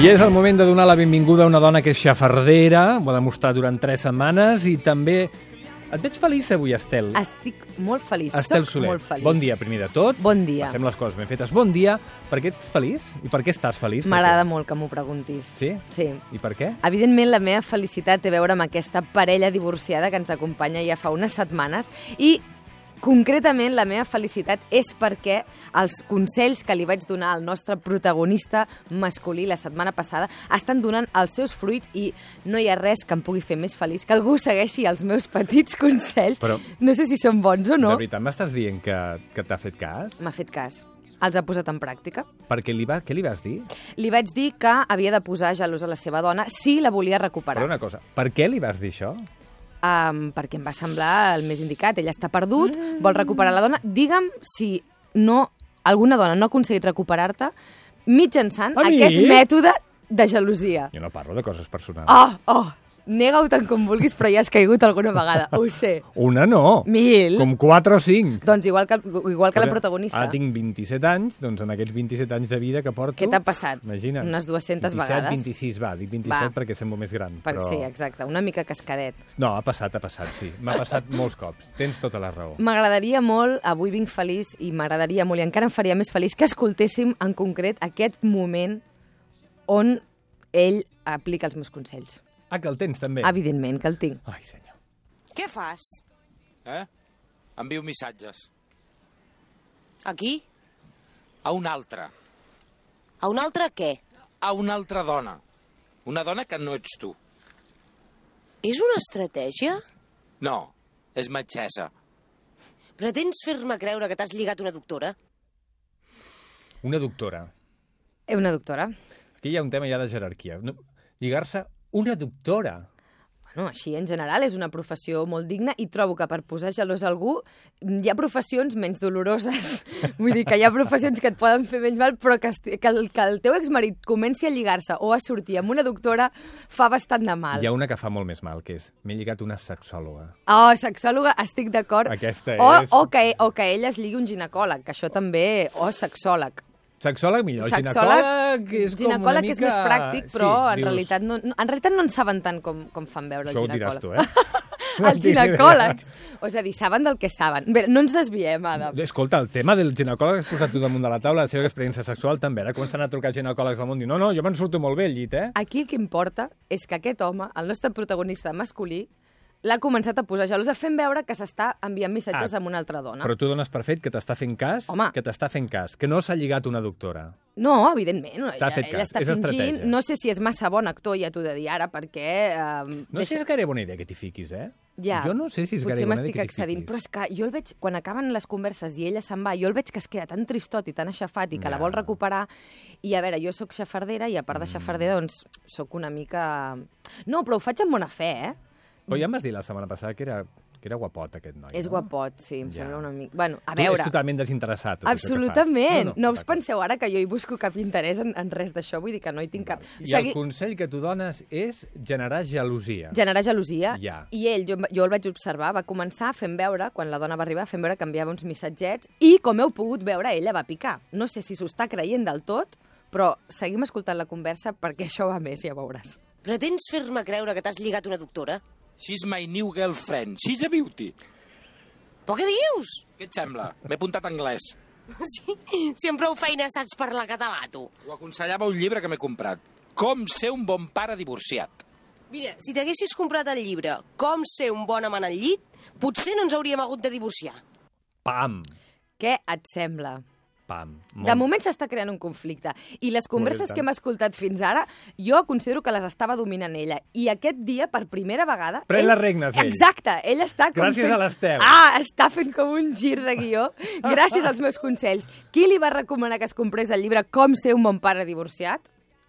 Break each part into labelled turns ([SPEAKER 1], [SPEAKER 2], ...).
[SPEAKER 1] I és el moment de donar la benvinguda a una dona que és xafardera, ho ha demostrat durant tres setmanes, i també... Et veig feliç avui, Estel.
[SPEAKER 2] Estic molt feliç.
[SPEAKER 1] Estel
[SPEAKER 2] soc
[SPEAKER 1] Soler,
[SPEAKER 2] Ah, Molt feliç.
[SPEAKER 1] bon dia, primer de tot.
[SPEAKER 2] Bon dia.
[SPEAKER 1] Fem les coses ben fetes. Bon dia. Per què ets feliç? I per què estàs feliç?
[SPEAKER 2] M'agrada molt que m'ho preguntis.
[SPEAKER 1] Sí?
[SPEAKER 2] Sí.
[SPEAKER 1] Per què? I per què?
[SPEAKER 2] Evidentment, la meva felicitat té a veure amb aquesta parella divorciada que ens acompanya ja fa unes setmanes i Concretament, la meva felicitat és perquè els consells que li vaig donar al nostre protagonista masculí la setmana passada estan donant els seus fruits i no hi ha res que em pugui fer més feliç que algú segueixi els meus petits consells.
[SPEAKER 1] Però-
[SPEAKER 2] No sé si són bons o no.
[SPEAKER 1] De veritat, m'estàs dient que, que t'ha fet cas?
[SPEAKER 2] M'ha fet cas. Els ha posat en pràctica.
[SPEAKER 1] Perquè li va, què li vas dir?
[SPEAKER 2] Li vaig dir que havia de posar gelós a la seva dona si la volia recuperar.
[SPEAKER 1] Però una cosa, per què li vas dir això?
[SPEAKER 2] Um, perquè em va semblar el més indicat. Ell està perdut, vol recuperar la dona. Digue'm si no, alguna dona no ha aconseguit recuperar-te mitjançant
[SPEAKER 1] A mi?
[SPEAKER 2] aquest mètode de gelosia.
[SPEAKER 1] Jo no parlo de coses personals.
[SPEAKER 2] Oh, oh, nega-ho tant com vulguis, però ja has caigut alguna vegada. Ho sé.
[SPEAKER 1] Una no.
[SPEAKER 2] Mil.
[SPEAKER 1] Com quatre o cinc.
[SPEAKER 2] Doncs igual que, igual que la
[SPEAKER 1] Ara-
[SPEAKER 2] protagonista.
[SPEAKER 1] Ara ah, tinc 27 anys, doncs en aquests 27 anys de vida que porto...
[SPEAKER 2] Què t'ha passat?
[SPEAKER 1] Imagina't.
[SPEAKER 2] Unes 200
[SPEAKER 1] 27,
[SPEAKER 2] vegades?
[SPEAKER 1] 26, va, dic 27
[SPEAKER 2] Va.
[SPEAKER 1] perquè semblo més gran.
[SPEAKER 2] Per,
[SPEAKER 1] però...
[SPEAKER 2] Sí, exacte, una mica cascadet.
[SPEAKER 1] No, ha passat, ha passat, sí. M'ha passat molts cops. Tens tota la raó.
[SPEAKER 2] M'agradaria molt, avui vinc feliç i m'agradaria molt i encara em faria més feliç que escoltéssim en concret aquest moment on ell aplica els meus consells.
[SPEAKER 1] Ah, que el tens també?
[SPEAKER 2] Evidentment que el tinc.
[SPEAKER 1] Ai, senyor.
[SPEAKER 3] Què fas?
[SPEAKER 4] Eh? Envio missatges.
[SPEAKER 3] Aquí?
[SPEAKER 4] A una altra.
[SPEAKER 3] A un altre què?
[SPEAKER 4] A una altra dona. Una dona que no ets tu.
[SPEAKER 3] És una estratègia?
[SPEAKER 4] No, és metgessa.
[SPEAKER 3] Pretens fer-me creure que t'has lligat una doctora?
[SPEAKER 1] Una doctora.
[SPEAKER 2] Eh, Una doctora.
[SPEAKER 1] Aquí hi ha un tema ja de jerarquia. No, Lligar-se una doctora.
[SPEAKER 2] Bueno, així en general és una professió molt digna i trobo que per posar gelós a algú mm, hi ha professions menys doloroses. Vull dir que hi ha professions que et poden fer menys mal, però que, esti- que, el, que el teu exmarit comenci a lligar-se o a sortir amb una doctora fa bastant de mal.
[SPEAKER 1] Hi ha una que fa molt més mal, que és... M'he lligat una sexòloga.
[SPEAKER 2] Oh, sexòloga, estic d'acord. Oh,
[SPEAKER 1] Aquesta
[SPEAKER 2] o,
[SPEAKER 1] és.
[SPEAKER 2] O que, o que ell es ligui un ginecòleg, que això també... O sexòleg.
[SPEAKER 1] Sexòleg millor. El
[SPEAKER 2] Sexòleg,
[SPEAKER 1] ginecòleg és com
[SPEAKER 2] ginecòleg
[SPEAKER 1] una mica...
[SPEAKER 2] és més pràctic, però
[SPEAKER 1] sí,
[SPEAKER 2] en,
[SPEAKER 1] dius,
[SPEAKER 2] realitat no, no- en realitat no en saben tant com, com fan veure
[SPEAKER 1] Això ho
[SPEAKER 2] el
[SPEAKER 1] diràs
[SPEAKER 2] ginecòleg.
[SPEAKER 1] tu, eh? No
[SPEAKER 2] Els
[SPEAKER 1] tinc idea.
[SPEAKER 2] ginecòlegs. O és a dir, saben del que saben. Bé, no ens desviem, Adam.
[SPEAKER 1] Escolta, el tema del ginecòleg que has posat tu damunt de la taula, la seva experiència sexual també. Ara comencen a trucar ginecòlegs del món i no, no, jo me'n surto molt bé al llit, eh?
[SPEAKER 2] Aquí el que importa és que aquest home, el nostre protagonista masculí, l'ha començat a posar gelosa fent veure que s'està enviant missatges
[SPEAKER 1] Ah,
[SPEAKER 2] amb una altra dona.
[SPEAKER 1] Però tu dones per fet que t'està fent cas,
[SPEAKER 2] Home.
[SPEAKER 1] que t'està fent cas, que no s'ha lligat una doctora.
[SPEAKER 2] No, evidentment.
[SPEAKER 1] T'ha
[SPEAKER 2] ella-
[SPEAKER 1] fet
[SPEAKER 2] ella
[SPEAKER 1] cas,
[SPEAKER 2] està
[SPEAKER 1] és
[SPEAKER 2] fingint.
[SPEAKER 1] estratègia.
[SPEAKER 2] No sé si és massa bon actor, ja t'ho de dir ara, perquè... Eh,
[SPEAKER 1] No sé si és gaire bona idea que t'hi fiquis, eh?
[SPEAKER 2] Ja.
[SPEAKER 1] Jo no sé si és
[SPEAKER 2] Potser
[SPEAKER 1] gaire bona idea
[SPEAKER 2] m'estic
[SPEAKER 1] que t'hi
[SPEAKER 2] excedint,
[SPEAKER 1] fiquis.
[SPEAKER 2] però és que jo el veig, quan acaben les converses i ella se'n va, jo el veig que es queda tan tristot i tan aixafat i
[SPEAKER 1] Ja.
[SPEAKER 2] que
[SPEAKER 1] Mm.
[SPEAKER 2] la vol recuperar. I a veure, jo sóc xafardera i a part de xafardera, doncs, sóc una mica... No, però ho faig amb bona fe, eh?
[SPEAKER 1] però ja em vas dir la setmana passada que era, que era guapot aquest noi,
[SPEAKER 2] És
[SPEAKER 1] no?
[SPEAKER 2] guapot, sí, em
[SPEAKER 1] Ja.
[SPEAKER 2] sembla una mica... Bueno, a
[SPEAKER 1] Tu
[SPEAKER 2] veure...
[SPEAKER 1] és totalment desinteressat. Tot
[SPEAKER 2] Absolutament.
[SPEAKER 1] Això que fas.
[SPEAKER 2] No us
[SPEAKER 1] d'acord.
[SPEAKER 2] penseu ara que jo hi busco cap interès en, en res d'això, vull dir que no hi tinc cap...
[SPEAKER 1] I el consell que tu dones és generar gelosia.
[SPEAKER 2] generar gelosia.
[SPEAKER 1] Ja.
[SPEAKER 2] I ell, jo, jo el vaig observar, va començar fent veure, quan la dona va arribar, fent veure que enviava uns missatgets i, com heu pogut veure, ella va picar. No sé si s'ho està creient del tot, però seguim escoltant la conversa perquè això va més, ja veuràs.
[SPEAKER 3] Pretens fer-me creure que t'has lligat una doctora?
[SPEAKER 4] She's my new girlfriend. She's a beauty.
[SPEAKER 3] Però què dius?
[SPEAKER 4] Què et sembla? M'he apuntat a anglès.
[SPEAKER 3] Sí, si amb prou feina saps parlar català, tu.
[SPEAKER 4] Ho aconsellava un llibre que m'he comprat. Com ser un bon pare divorciat.
[SPEAKER 3] Mira, si t'haguessis comprat el llibre Com ser un bon amant al llit, potser no ens hauríem hagut de divorciar.
[SPEAKER 1] Pam!
[SPEAKER 2] Què et sembla?
[SPEAKER 1] Pam!
[SPEAKER 2] De moment s'està creant un conflicte. I les converses
[SPEAKER 1] tant.
[SPEAKER 2] que hem escoltat fins ara, jo considero que les estava dominant ella. I aquest dia, per primera vegada...
[SPEAKER 1] Pren
[SPEAKER 2] ell-
[SPEAKER 1] les regnes, ell.
[SPEAKER 2] Exacte, ell està... Com
[SPEAKER 1] Gràcies
[SPEAKER 2] fent...
[SPEAKER 1] a l'Estel.
[SPEAKER 2] Ah, està fent com un gir de guió. Gràcies als meus consells. Qui li va recomanar que es comprés el llibre Com ser un bon pare divorciat?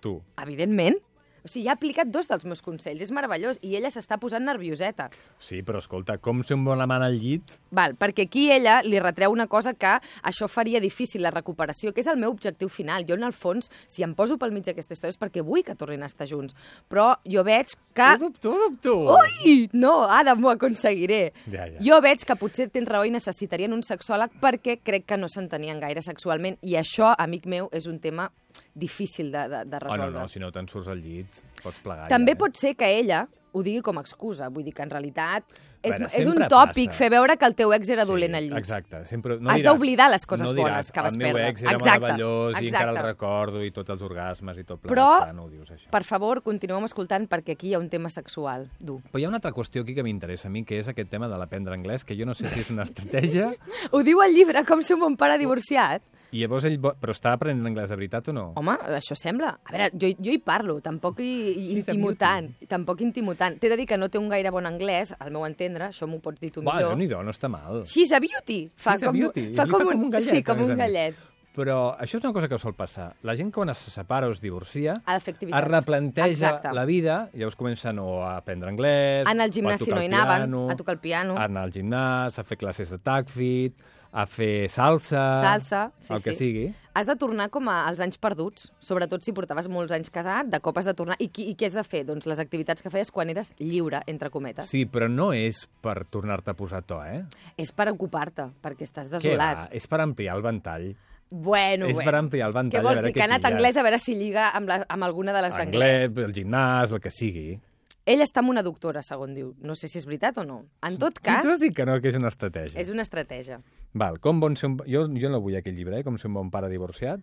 [SPEAKER 1] Tu.
[SPEAKER 2] Evidentment. O sigui, ja ha aplicat dos dels meus consells. És meravellós. I ella s'està posant nervioseta.
[SPEAKER 1] Sí, però escolta, com ser un bon amant al llit...
[SPEAKER 2] Val, perquè aquí ella li retreu una cosa que això faria difícil la recuperació, que és el meu objectiu final. Jo, en el fons, si em poso pel mig d'aquesta història és perquè vull que tornin a estar junts. Però jo veig que...
[SPEAKER 1] Ho dubto, ho dubto!
[SPEAKER 2] Ah. Ui! No, Adam, ho aconseguiré.
[SPEAKER 1] Ja, ja.
[SPEAKER 2] Jo veig que potser tens raó i necessitarien un sexòleg perquè crec que no s'entenien gaire sexualment i això, amic meu, és un tema difícil de, de, de
[SPEAKER 1] Oh,
[SPEAKER 2] resoldre.
[SPEAKER 1] no, no, si no te'n surts al llit, pots plegar. ja,
[SPEAKER 2] També
[SPEAKER 1] eh?
[SPEAKER 2] pot ser que ella ho digui com a excusa. Vull dir que, en realitat, és,
[SPEAKER 1] veure,
[SPEAKER 2] és un
[SPEAKER 1] sempre
[SPEAKER 2] tòpic
[SPEAKER 1] passa.
[SPEAKER 2] fer veure que el teu ex era
[SPEAKER 1] Sí,
[SPEAKER 2] dolent al llit.
[SPEAKER 1] Exacte. Sempre, no
[SPEAKER 2] Has
[SPEAKER 1] diràs-
[SPEAKER 2] d'oblidar les coses
[SPEAKER 1] no
[SPEAKER 2] bones
[SPEAKER 1] diràs,
[SPEAKER 2] que vas
[SPEAKER 1] El
[SPEAKER 2] perdre."
[SPEAKER 1] meu ex era
[SPEAKER 2] Exacte,
[SPEAKER 1] meravellós i encara el
[SPEAKER 2] exacte.
[SPEAKER 1] recordo i tots els orgasmes i tot plegat.
[SPEAKER 2] Però-
[SPEAKER 1] clar, no ho dius, això.
[SPEAKER 2] Per favor, continuem escoltant perquè aquí hi ha un tema sexual dur.
[SPEAKER 1] Però hi ha una altra qüestió aquí que m'interessa a mi, que és aquest tema de l'aprendre anglès, que jo no sé si és una estratègia,
[SPEAKER 2] Ho diu el llibre, com ser un bon pare divorciat.
[SPEAKER 1] i llavors ell... vo- Però està aprenent anglès de veritat o no?
[SPEAKER 2] Home, això sembla... A veure, jo, jo hi parlo, tampoc hi, hi
[SPEAKER 1] Sí,
[SPEAKER 2] intimo
[SPEAKER 1] t'admiro.
[SPEAKER 2] tant. Tampoc intimo tant. T'he de dir que no té un gaire bon anglès, al meu entendre, això m'ho pots dir tu
[SPEAKER 1] Va,
[SPEAKER 2] millor.
[SPEAKER 1] Déu-n'hi-do, no està mal.
[SPEAKER 2] She's a beauty. Fa
[SPEAKER 1] She's a
[SPEAKER 2] com,
[SPEAKER 1] beauty.
[SPEAKER 2] Fa
[SPEAKER 1] Ell
[SPEAKER 2] com, un,
[SPEAKER 1] gallet,
[SPEAKER 2] Sí,
[SPEAKER 1] a
[SPEAKER 2] com
[SPEAKER 1] més a més.
[SPEAKER 2] un gallet.
[SPEAKER 1] Però això és una cosa que sol passar. La gent quan es separa o es divorcia
[SPEAKER 2] A l'efectivitat.
[SPEAKER 1] es replanteja
[SPEAKER 2] Exacte.
[SPEAKER 1] la vida, llavors comencen o a aprendre anglès...
[SPEAKER 2] Anar al
[SPEAKER 1] o
[SPEAKER 2] gimnàs si
[SPEAKER 1] tocar
[SPEAKER 2] no
[SPEAKER 1] el
[SPEAKER 2] hi anaven,
[SPEAKER 1] piano,
[SPEAKER 2] a tocar el piano.
[SPEAKER 1] A anar al gimnàs, a fer classes de tacfit, a fer salsa...
[SPEAKER 2] Salsa, sí,
[SPEAKER 1] Ah, El que
[SPEAKER 2] sí.
[SPEAKER 1] sigui.
[SPEAKER 2] Has de tornar com a, als anys perduts, sobretot si portaves molts anys casat, de cop has de tornar. I, qui, I què has de fer? Doncs les activitats que feies quan eres lliure, entre cometes.
[SPEAKER 1] Sí, però no és per tornar-te a posar to, eh?
[SPEAKER 2] És per ocupar-te, perquè estàs
[SPEAKER 1] Què va?
[SPEAKER 2] desolat.
[SPEAKER 1] És per ampliar el ventall.
[SPEAKER 2] Bueno,
[SPEAKER 1] És
[SPEAKER 2] bueno.
[SPEAKER 1] per ampliar el ventall, a
[SPEAKER 2] Què vols
[SPEAKER 1] veure
[SPEAKER 2] dir?
[SPEAKER 1] què
[SPEAKER 2] Que ha anat a
[SPEAKER 1] pilles.
[SPEAKER 2] anglès a veure si lliga amb, les, amb alguna de les d'anglès.
[SPEAKER 1] Anglès, el gimnàs, el que sigui.
[SPEAKER 2] Ell està amb una doctora, segons diu. No sé si és veritat o no. En tot
[SPEAKER 1] Sí, t'ho
[SPEAKER 2] cas,
[SPEAKER 1] dic que no, que és una estratègia.
[SPEAKER 2] és una estratègia.
[SPEAKER 1] Val, com bon ser un... Jo, jo no vull aquell llibre, eh? Com ser un bon pare divorciat.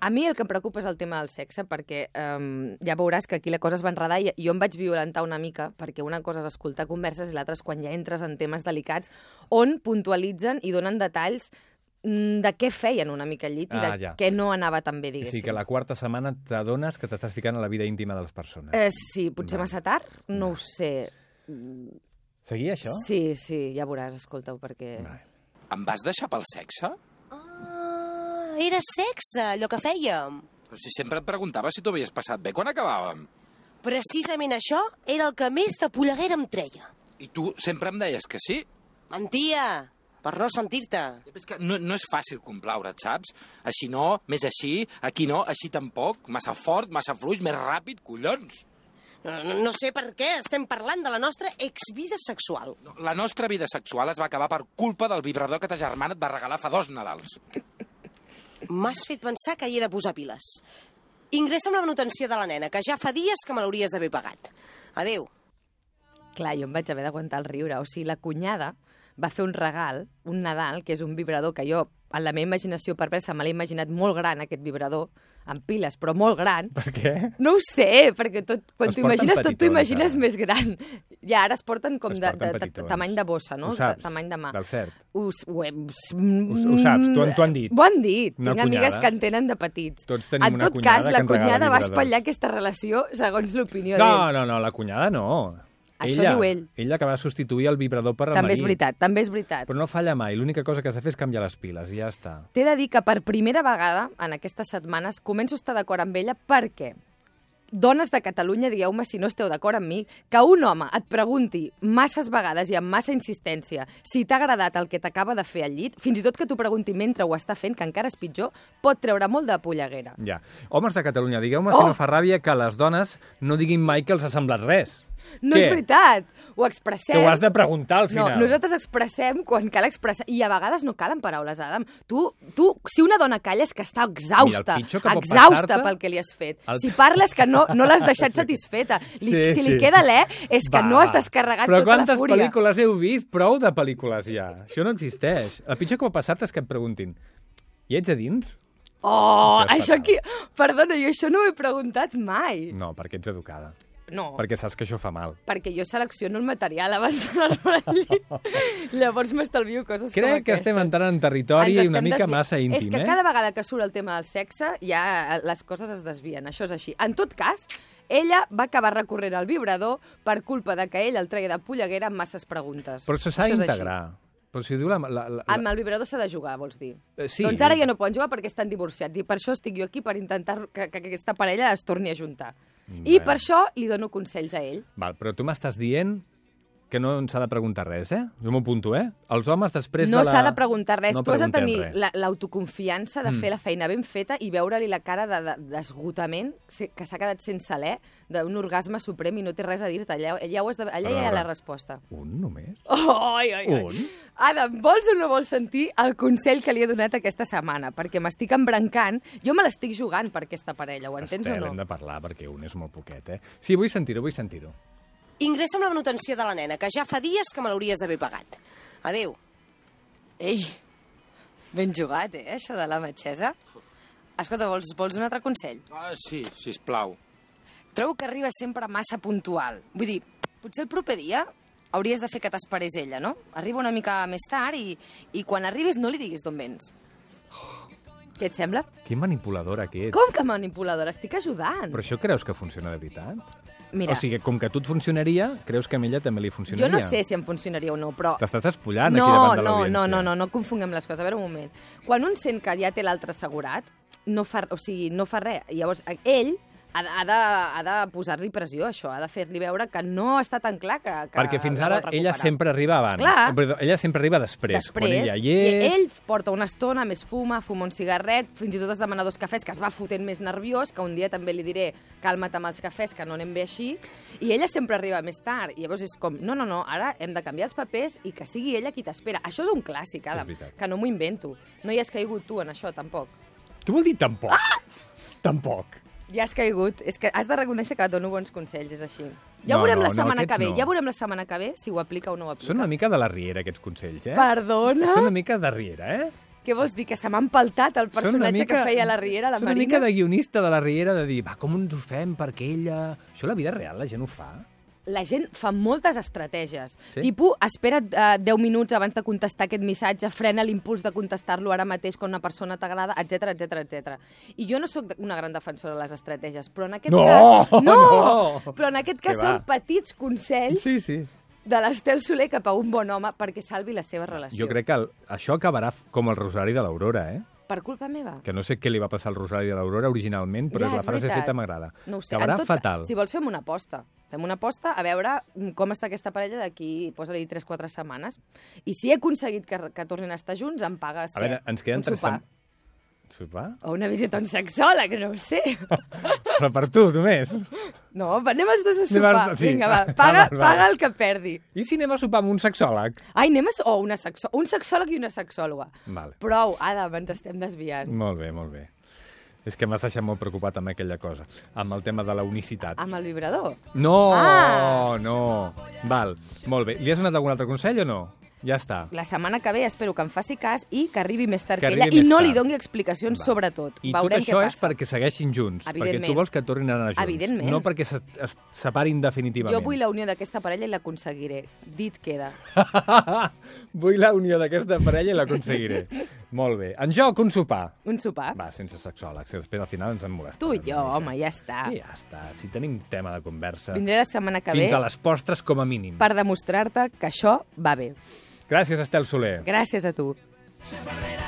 [SPEAKER 2] A mi el que em preocupa és el tema del sexe, perquè um, ja veuràs que aquí la cosa es va enredar i jo em vaig violentar una mica, perquè una cosa és escoltar converses i l'altra és quan ja entres en temes delicats, on puntualitzen i donen detalls mm, de què feien una mica al llit i de
[SPEAKER 1] Ah, ja.
[SPEAKER 2] què no anava tan bé,
[SPEAKER 1] Sí,
[SPEAKER 2] diguéssim.
[SPEAKER 1] sí que la quarta setmana t'adones que t'estàs ficant a la vida íntima de les persones. Eh...
[SPEAKER 2] eh, sí, potser massa tard? No ho sé.
[SPEAKER 1] Seguia això?
[SPEAKER 2] Sí, sí, ja veuràs, escolta-ho, perquè...
[SPEAKER 1] Vale.
[SPEAKER 4] Em vas deixar pel sexe?
[SPEAKER 3] Ah, era sexe, allò que fèiem.
[SPEAKER 4] Però si sempre et preguntava si t'ho havies passat bé quan acabàvem.
[SPEAKER 3] Precisament això era el que més de polleguera em treia.
[SPEAKER 4] I tu sempre em deies que sí.
[SPEAKER 3] Mentia, per no sentir-te.
[SPEAKER 4] És que no, no és fàcil complaure't, saps? Així no, més així, aquí no, així tampoc. Massa fort, massa fluix, més ràpid, collons.
[SPEAKER 3] No, Eh, no- no sé per què estem parlant de la nostra exvida sexual.
[SPEAKER 4] No, La nostra vida sexual es va acabar per culpa del vibrador que ta germana et va regalar fa dos Nadals.
[SPEAKER 3] M'has fet pensar que hi he de posar piles. Ingressa'm la manutenció de la nena, que ja fa dies que me l'hauries d'haver pagat. Adéu.
[SPEAKER 2] Clar, jo em vaig haver d'aguantar el riure. O sigui, la cunyada va fer un regal, un Nadal, que és un vibrador que jo, en la meva imaginació perversa, me l'he imaginat molt gran, aquest vibrador, amb piles, però molt gran.
[SPEAKER 1] Per què?
[SPEAKER 2] No ho sé, perquè tot, quan
[SPEAKER 1] Es
[SPEAKER 2] t'ho imagines,
[SPEAKER 1] porten
[SPEAKER 2] tot t'ho
[SPEAKER 1] petitons,
[SPEAKER 2] imagines
[SPEAKER 1] ara.
[SPEAKER 2] més gran. Ja ara es porten com
[SPEAKER 1] Es
[SPEAKER 2] de,
[SPEAKER 1] porten
[SPEAKER 2] de, de,
[SPEAKER 1] petitons.
[SPEAKER 2] tamany de bossa, no?
[SPEAKER 1] Ho saps,
[SPEAKER 2] De, tamany de mà.
[SPEAKER 1] del cert.
[SPEAKER 2] Ho, s- ho, he,
[SPEAKER 1] ho saps, t'ho han- t'ho han dit.
[SPEAKER 2] Ho han dit.
[SPEAKER 1] Una
[SPEAKER 2] Tinc amigues
[SPEAKER 1] cunyada.
[SPEAKER 2] que en tenen de petits.
[SPEAKER 1] Tots tenim
[SPEAKER 2] en
[SPEAKER 1] una
[SPEAKER 2] tot
[SPEAKER 1] cunyada
[SPEAKER 2] cas,
[SPEAKER 1] que
[SPEAKER 2] la
[SPEAKER 1] ens regala
[SPEAKER 2] cunyada va
[SPEAKER 1] vibradors.
[SPEAKER 2] espatllar aquesta relació segons l'opinió d'ell.
[SPEAKER 1] No, no, no, la cunyada no.
[SPEAKER 2] Això diu ell.
[SPEAKER 1] Ella que va substituir el vibrador per el
[SPEAKER 2] També
[SPEAKER 1] marit.
[SPEAKER 2] és veritat, també és veritat.
[SPEAKER 1] Però no falla mai. L'única cosa que has de fer és canviar les piles i ja està.
[SPEAKER 2] T'he de dir que per primera vegada en aquestes setmanes començo a estar d'acord amb ella perquè dones de Catalunya, digueu-me si no esteu d'acord amb mi, que un home et pregunti masses vegades i amb massa insistència si t'ha agradat el que t'acaba de fer al llit, fins i tot que t'ho pregunti mentre ho està fent, que encara és pitjor, pot treure molt de polleguera.
[SPEAKER 1] Ja. Homes de Catalunya, digueu-me oh! si
[SPEAKER 2] Oh!
[SPEAKER 1] no fa ràbia que les dones no diguin mai que els ha semblat res.
[SPEAKER 2] No
[SPEAKER 1] Què?
[SPEAKER 2] és veritat, ho expressem.
[SPEAKER 1] Que ho has de preguntar al
[SPEAKER 2] No,
[SPEAKER 1] final.
[SPEAKER 2] nosaltres expressem quan cal expressar. I a vegades no calen paraules, Adam. Tu, tu si una dona calla és que està
[SPEAKER 1] Mira,
[SPEAKER 2] exhausta.
[SPEAKER 1] el pitjor que pot
[SPEAKER 2] exhausta
[SPEAKER 1] passar-te-
[SPEAKER 2] pel que li has fet.
[SPEAKER 1] El-
[SPEAKER 2] Si parles que no, no l'has deixat satisfeta. Li,
[SPEAKER 1] Sí,
[SPEAKER 2] si
[SPEAKER 1] sí.
[SPEAKER 2] li queda l'e, és que
[SPEAKER 1] Va,
[SPEAKER 2] no has
[SPEAKER 1] va.
[SPEAKER 2] descarregat
[SPEAKER 1] Però
[SPEAKER 2] tota la
[SPEAKER 1] Però
[SPEAKER 2] fúria.
[SPEAKER 1] quantes pel·lícules heu vist? Prou de pel·lícules ja. Això no existeix. El pitjor que pot passar-te és que et preguntin i ets a dins?
[SPEAKER 2] Oh,
[SPEAKER 1] Això és fatal.
[SPEAKER 2] això aquí... Perdona, jo això no ho he preguntat mai.
[SPEAKER 1] No, perquè ets educada.
[SPEAKER 2] No.
[SPEAKER 1] Perquè saps que això fa mal.
[SPEAKER 2] perquè jo selecciono el material abans d'anar-me al llit. Llavors m'estalvio coses com
[SPEAKER 1] Crec que
[SPEAKER 2] aquestes.
[SPEAKER 1] estem entrant en territori
[SPEAKER 2] Ens
[SPEAKER 1] una
[SPEAKER 2] estem
[SPEAKER 1] mica
[SPEAKER 2] desvi-
[SPEAKER 1] massa íntim,
[SPEAKER 2] És que
[SPEAKER 1] eh?
[SPEAKER 2] cada vegada que surt el tema del sexe, ja eh, les coses es desvien, això és així. En tot cas, ella va acabar recorrent al vibrador per culpa de que ell el treia de polleguera amb masses preguntes.
[SPEAKER 1] Però se s'ha
[SPEAKER 2] Això és així.
[SPEAKER 1] d'integrar. Però si diu la... la, la,
[SPEAKER 2] Amb
[SPEAKER 1] la...
[SPEAKER 2] el vibrador s'ha de jugar, vols dir?
[SPEAKER 1] Eh, sí.
[SPEAKER 2] Doncs ara ja no poden jugar perquè estan divorciats i per això estic jo aquí per intentar que, que aquesta parella es torni a juntar. I
[SPEAKER 1] Bé.
[SPEAKER 2] per això li dono consells a ell.
[SPEAKER 1] Val, però tu m'estàs dient que no ens s'ha de preguntar res, eh? Jo m'ho apunto, eh? Els homes després
[SPEAKER 2] No
[SPEAKER 1] de la...
[SPEAKER 2] s'ha de preguntar res.
[SPEAKER 1] No
[SPEAKER 2] tu has de
[SPEAKER 1] preguntem
[SPEAKER 2] tenir
[SPEAKER 1] res. Mm.
[SPEAKER 2] la- l'autoconfiança de fer la feina ben feta i veure-li la cara de- de- d'esgotament de, se- que s'ha quedat sense alè d'un orgasme suprem i no té res a dir-te. Allà, allà, ho has de, allà
[SPEAKER 1] A
[SPEAKER 2] hi ha
[SPEAKER 1] veure.
[SPEAKER 2] la resposta.
[SPEAKER 1] Un només?
[SPEAKER 2] Ai, ai, ai.
[SPEAKER 1] Un?
[SPEAKER 2] Adam, vols o no vols sentir el consell que li he donat aquesta setmana? Perquè m'estic embrancant, jo me l'estic jugant per aquesta parella, ho entens
[SPEAKER 1] Estel, hem
[SPEAKER 2] o no?
[SPEAKER 1] de parlar, perquè un és molt poquet, eh? Sí, vull sentir-ho, vull sentir-ho.
[SPEAKER 3] Ingressa amb la manutenció de la nena, que ja fa dies que me l'hauries d'haver pagat. Adéu.
[SPEAKER 2] Ei, ben jugat, eh, això de la metgessa. Escolta, vols, vols un altre consell?
[SPEAKER 4] Ah, sí, sisplau.
[SPEAKER 2] Trobo que arriba sempre massa puntual. Vull dir, potser el proper dia hauries de fer que t'esperés ella, no? Arriba una mica més tard i, i quan arribis no li diguis d'on vens. Què et sembla?
[SPEAKER 1] Quin manipuladora que ets.
[SPEAKER 2] Com que manipuladora? Estic ajudant.
[SPEAKER 1] Però això creus que funciona de veritat?
[SPEAKER 2] Mira,
[SPEAKER 1] O sigui, com que a tu et funcionaria, creus que a ella també li
[SPEAKER 2] jo
[SPEAKER 1] funcionaria?
[SPEAKER 2] no sé si em funcionaria o no, però...
[SPEAKER 1] T'estàs espullant
[SPEAKER 2] no,
[SPEAKER 1] aquí davant de
[SPEAKER 2] no,
[SPEAKER 1] l'audiència.
[SPEAKER 2] no, no, no, no confonguem les coses. A veure, un moment. Quan un sent que ja té l'altre assegurat, no fa, o sigui, no fa res. Llavors, ell ha, de- ha de, ha de posar-li pressió, a això. Ha de fer-li veure que no està tan clar que... que
[SPEAKER 1] Perquè fins
[SPEAKER 2] la
[SPEAKER 1] ara
[SPEAKER 2] vol
[SPEAKER 1] ella
[SPEAKER 2] recuperar.
[SPEAKER 1] sempre arriba abans.
[SPEAKER 2] Clar.
[SPEAKER 1] Oh, Perdó, ella sempre arriba després.
[SPEAKER 2] Després,
[SPEAKER 1] quan ella hi
[SPEAKER 2] i
[SPEAKER 1] és...
[SPEAKER 2] ell porta una estona, més fuma, fuma un cigarret, fins i tot es demana dos cafès, que es va fotent més nerviós, que un dia també li diré calma't amb els cafès, que no anem bé així, i ella sempre arriba més tard, i llavors és com, no, no, no, ara hem de canviar els papers i que sigui ella qui t'espera. Això és un clàssic, Adam,
[SPEAKER 1] veritat.
[SPEAKER 2] que no m'ho invento. No hi has caigut tu en això, tampoc.
[SPEAKER 1] Què vol dir tampoc? Ah! Tampoc.
[SPEAKER 2] Ja has caigut. És que has de reconèixer que et dono bons consells, és així. Ja
[SPEAKER 1] No,
[SPEAKER 2] ho veurem
[SPEAKER 1] no,
[SPEAKER 2] la
[SPEAKER 1] no,
[SPEAKER 2] setmana que
[SPEAKER 1] aquests
[SPEAKER 2] ve.
[SPEAKER 1] no.
[SPEAKER 2] Ja veurem la setmana que ve si ho aplica o no ho aplica.
[SPEAKER 1] Són una mica de la riera, aquests consells, eh?
[SPEAKER 2] Perdona?
[SPEAKER 1] Són una mica de riera, eh?
[SPEAKER 2] Què vols dir? Que se m'ha empaltat el
[SPEAKER 1] Són una
[SPEAKER 2] personatge que feia la Riera, la
[SPEAKER 1] són
[SPEAKER 2] Marina?
[SPEAKER 1] una mica de guionista de la riera, de dir, va, com ens ho fem perquè ella... Això a la vida real la gent ho fa.
[SPEAKER 2] la gent fa moltes estratègies.
[SPEAKER 1] Sí?
[SPEAKER 2] Sí? Tipo, espera't eh, 10 minuts abans de contestar aquest missatge, frena l'impuls de contestar-lo ara mateix quan una persona t'agrada, etc etc etc. I jo no sóc de- una gran defensora de les estratègies, però en aquest
[SPEAKER 1] No!
[SPEAKER 2] cas...
[SPEAKER 1] No!
[SPEAKER 2] Però en aquest cas
[SPEAKER 1] Que va.
[SPEAKER 2] són petits consells
[SPEAKER 1] Sí, sí.
[SPEAKER 2] de l'Estel Soler cap a un bon home perquè salvi la seva relació.
[SPEAKER 1] Jo crec que el, això acabarà f- com el Rosari de l'Aurora, eh?
[SPEAKER 2] Per culpa meva.
[SPEAKER 1] Que no sé què li va passar al Rosari de l'Aurora originalment, però
[SPEAKER 2] Ja,
[SPEAKER 1] la
[SPEAKER 2] és
[SPEAKER 1] frase
[SPEAKER 2] veritat.
[SPEAKER 1] feta m'agrada.
[SPEAKER 2] No ho sé.
[SPEAKER 1] Acabarà
[SPEAKER 2] en tot, ca-
[SPEAKER 1] fatal.
[SPEAKER 2] Si vols, fem una aposta. Fem una aposta a veure mm, com està aquesta parella d'aquí, posa-li 3-4 setmanes. I si he aconseguit que, que tornin a estar junts, em pagues
[SPEAKER 1] A veure, ens queden
[SPEAKER 2] un
[SPEAKER 1] tres...
[SPEAKER 2] sopar.
[SPEAKER 1] sem- Sopar?
[SPEAKER 2] O una visita a un sexòleg, no ho sé.
[SPEAKER 1] Però per tu, només.
[SPEAKER 2] No, va, anem els dos a
[SPEAKER 1] Anem
[SPEAKER 2] sopar.
[SPEAKER 1] els dos, sí. Ah,
[SPEAKER 2] Vinga, va, paga,
[SPEAKER 1] Va, va, va.
[SPEAKER 2] paga el que perdi.
[SPEAKER 1] I si anem a sopar amb un sexòleg?
[SPEAKER 2] Ai, anem a... so- O una sexo... un sexòleg i una sexòloga.
[SPEAKER 1] Vale. Mm.
[SPEAKER 2] Prou, Adam, ens estem desviant.
[SPEAKER 1] Molt bé, molt bé. És que m'has deixat molt preocupat amb aquella cosa, amb el tema de la unicitat.
[SPEAKER 2] Amb el vibrador.
[SPEAKER 1] No,
[SPEAKER 2] Ah.
[SPEAKER 1] no. Val, molt bé. Li has donat algun altre consell o no? Ja està.
[SPEAKER 2] La setmana que ve espero que em faci cas i que arribi més tard
[SPEAKER 1] Que
[SPEAKER 2] que, ella
[SPEAKER 1] arribi
[SPEAKER 2] i
[SPEAKER 1] més
[SPEAKER 2] no
[SPEAKER 1] tard.
[SPEAKER 2] li doni explicacions
[SPEAKER 1] Val.
[SPEAKER 2] sobre tot.
[SPEAKER 1] I
[SPEAKER 2] Veurem
[SPEAKER 1] tot això
[SPEAKER 2] què
[SPEAKER 1] és
[SPEAKER 2] passa.
[SPEAKER 1] perquè segueixin junts, perquè
[SPEAKER 2] Evidentment.
[SPEAKER 1] tu vols que tornin a anar junts.
[SPEAKER 2] Evidentment.
[SPEAKER 1] No perquè se, es separin definitivament.
[SPEAKER 2] Jo vull la unió d'aquesta parella i l'aconseguiré. Dit queda.
[SPEAKER 1] la... vull la unió d'aquesta parella i l'aconseguiré. molt bé. En joc, un sopar.
[SPEAKER 2] Un sopar?
[SPEAKER 1] Va, sense sexòlegs, que després al final ens en molestem.
[SPEAKER 2] Tu i jo, home, ja està.
[SPEAKER 1] I ja està, si tenim tema de conversa.
[SPEAKER 2] Vindré la setmana que
[SPEAKER 1] Fins
[SPEAKER 2] ve
[SPEAKER 1] a les postres com a mínim.
[SPEAKER 2] per demostrar-te que això va bé.
[SPEAKER 1] Gràcies, Estel Soler.
[SPEAKER 2] Gràcies a tu.
[SPEAKER 5] Xafarrera,